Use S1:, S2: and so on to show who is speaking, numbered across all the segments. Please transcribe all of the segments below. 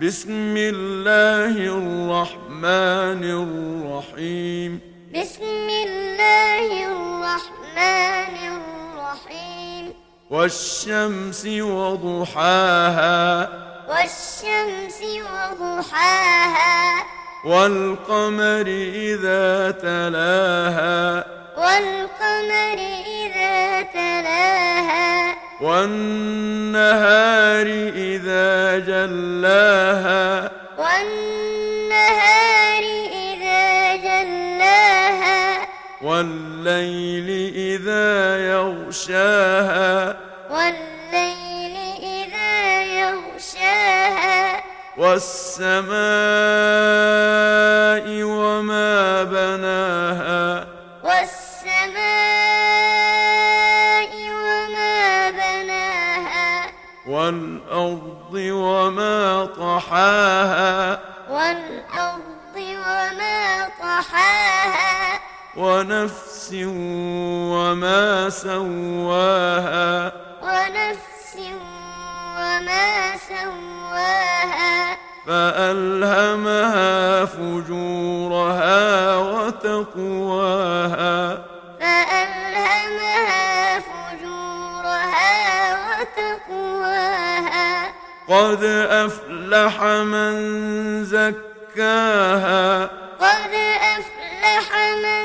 S1: بسم الله الرحمن الرحيم
S2: بسم الله الرحمن الرحيم
S1: والشمس وضحاها
S2: والشمس وضحاها
S1: والقمر إذا تلاها
S2: والقمر إذا تلاها
S1: والنهار إذا جلاها
S2: والنهار إذا جلاها
S1: والليل إذا يغشاها
S2: والليل إذا يغشاها
S1: والسماء وما بناها
S2: والسماء وما بناها
S1: والأرض وما طحاها
S2: والأرض وما طحاها
S1: ونفس وما سواها
S2: ونفس وما سواها فألهمها
S1: فجورها وتقواها
S2: فألهمها فجورها وتقواها
S1: قد أفلح من زكاها
S2: قد أفلح من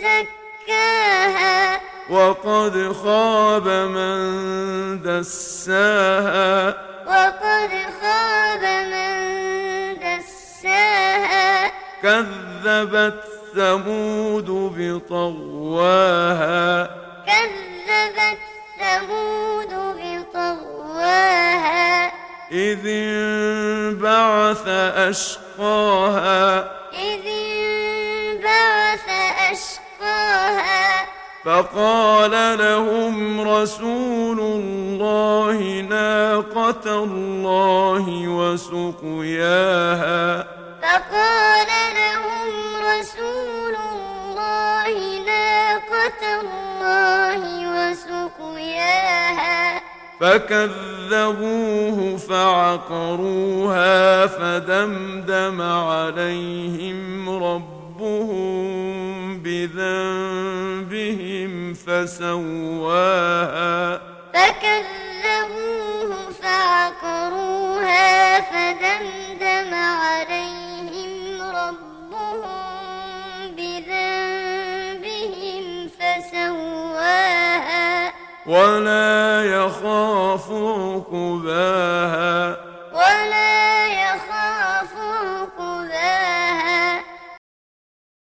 S2: زكاها
S1: وقد خاب من دساها
S2: وقد خاب من دساها
S1: كذبت ثمود بطغواها
S2: كذبت ثمود بطغواها
S1: إذ انبعث أشقاها
S2: إذ انبعث أشقاها
S1: فقال لهم رسول الله ناقة الله وسقياها
S2: فقال لهم رسول الله ناقة الله وسقياها
S1: فكذبوه فعقروها فدمدم عليهم ربهم بذنبهم فسواها
S2: فكذبوه فعقروها فدمدم عليهم ربهم بذنبهم فسواها
S1: وما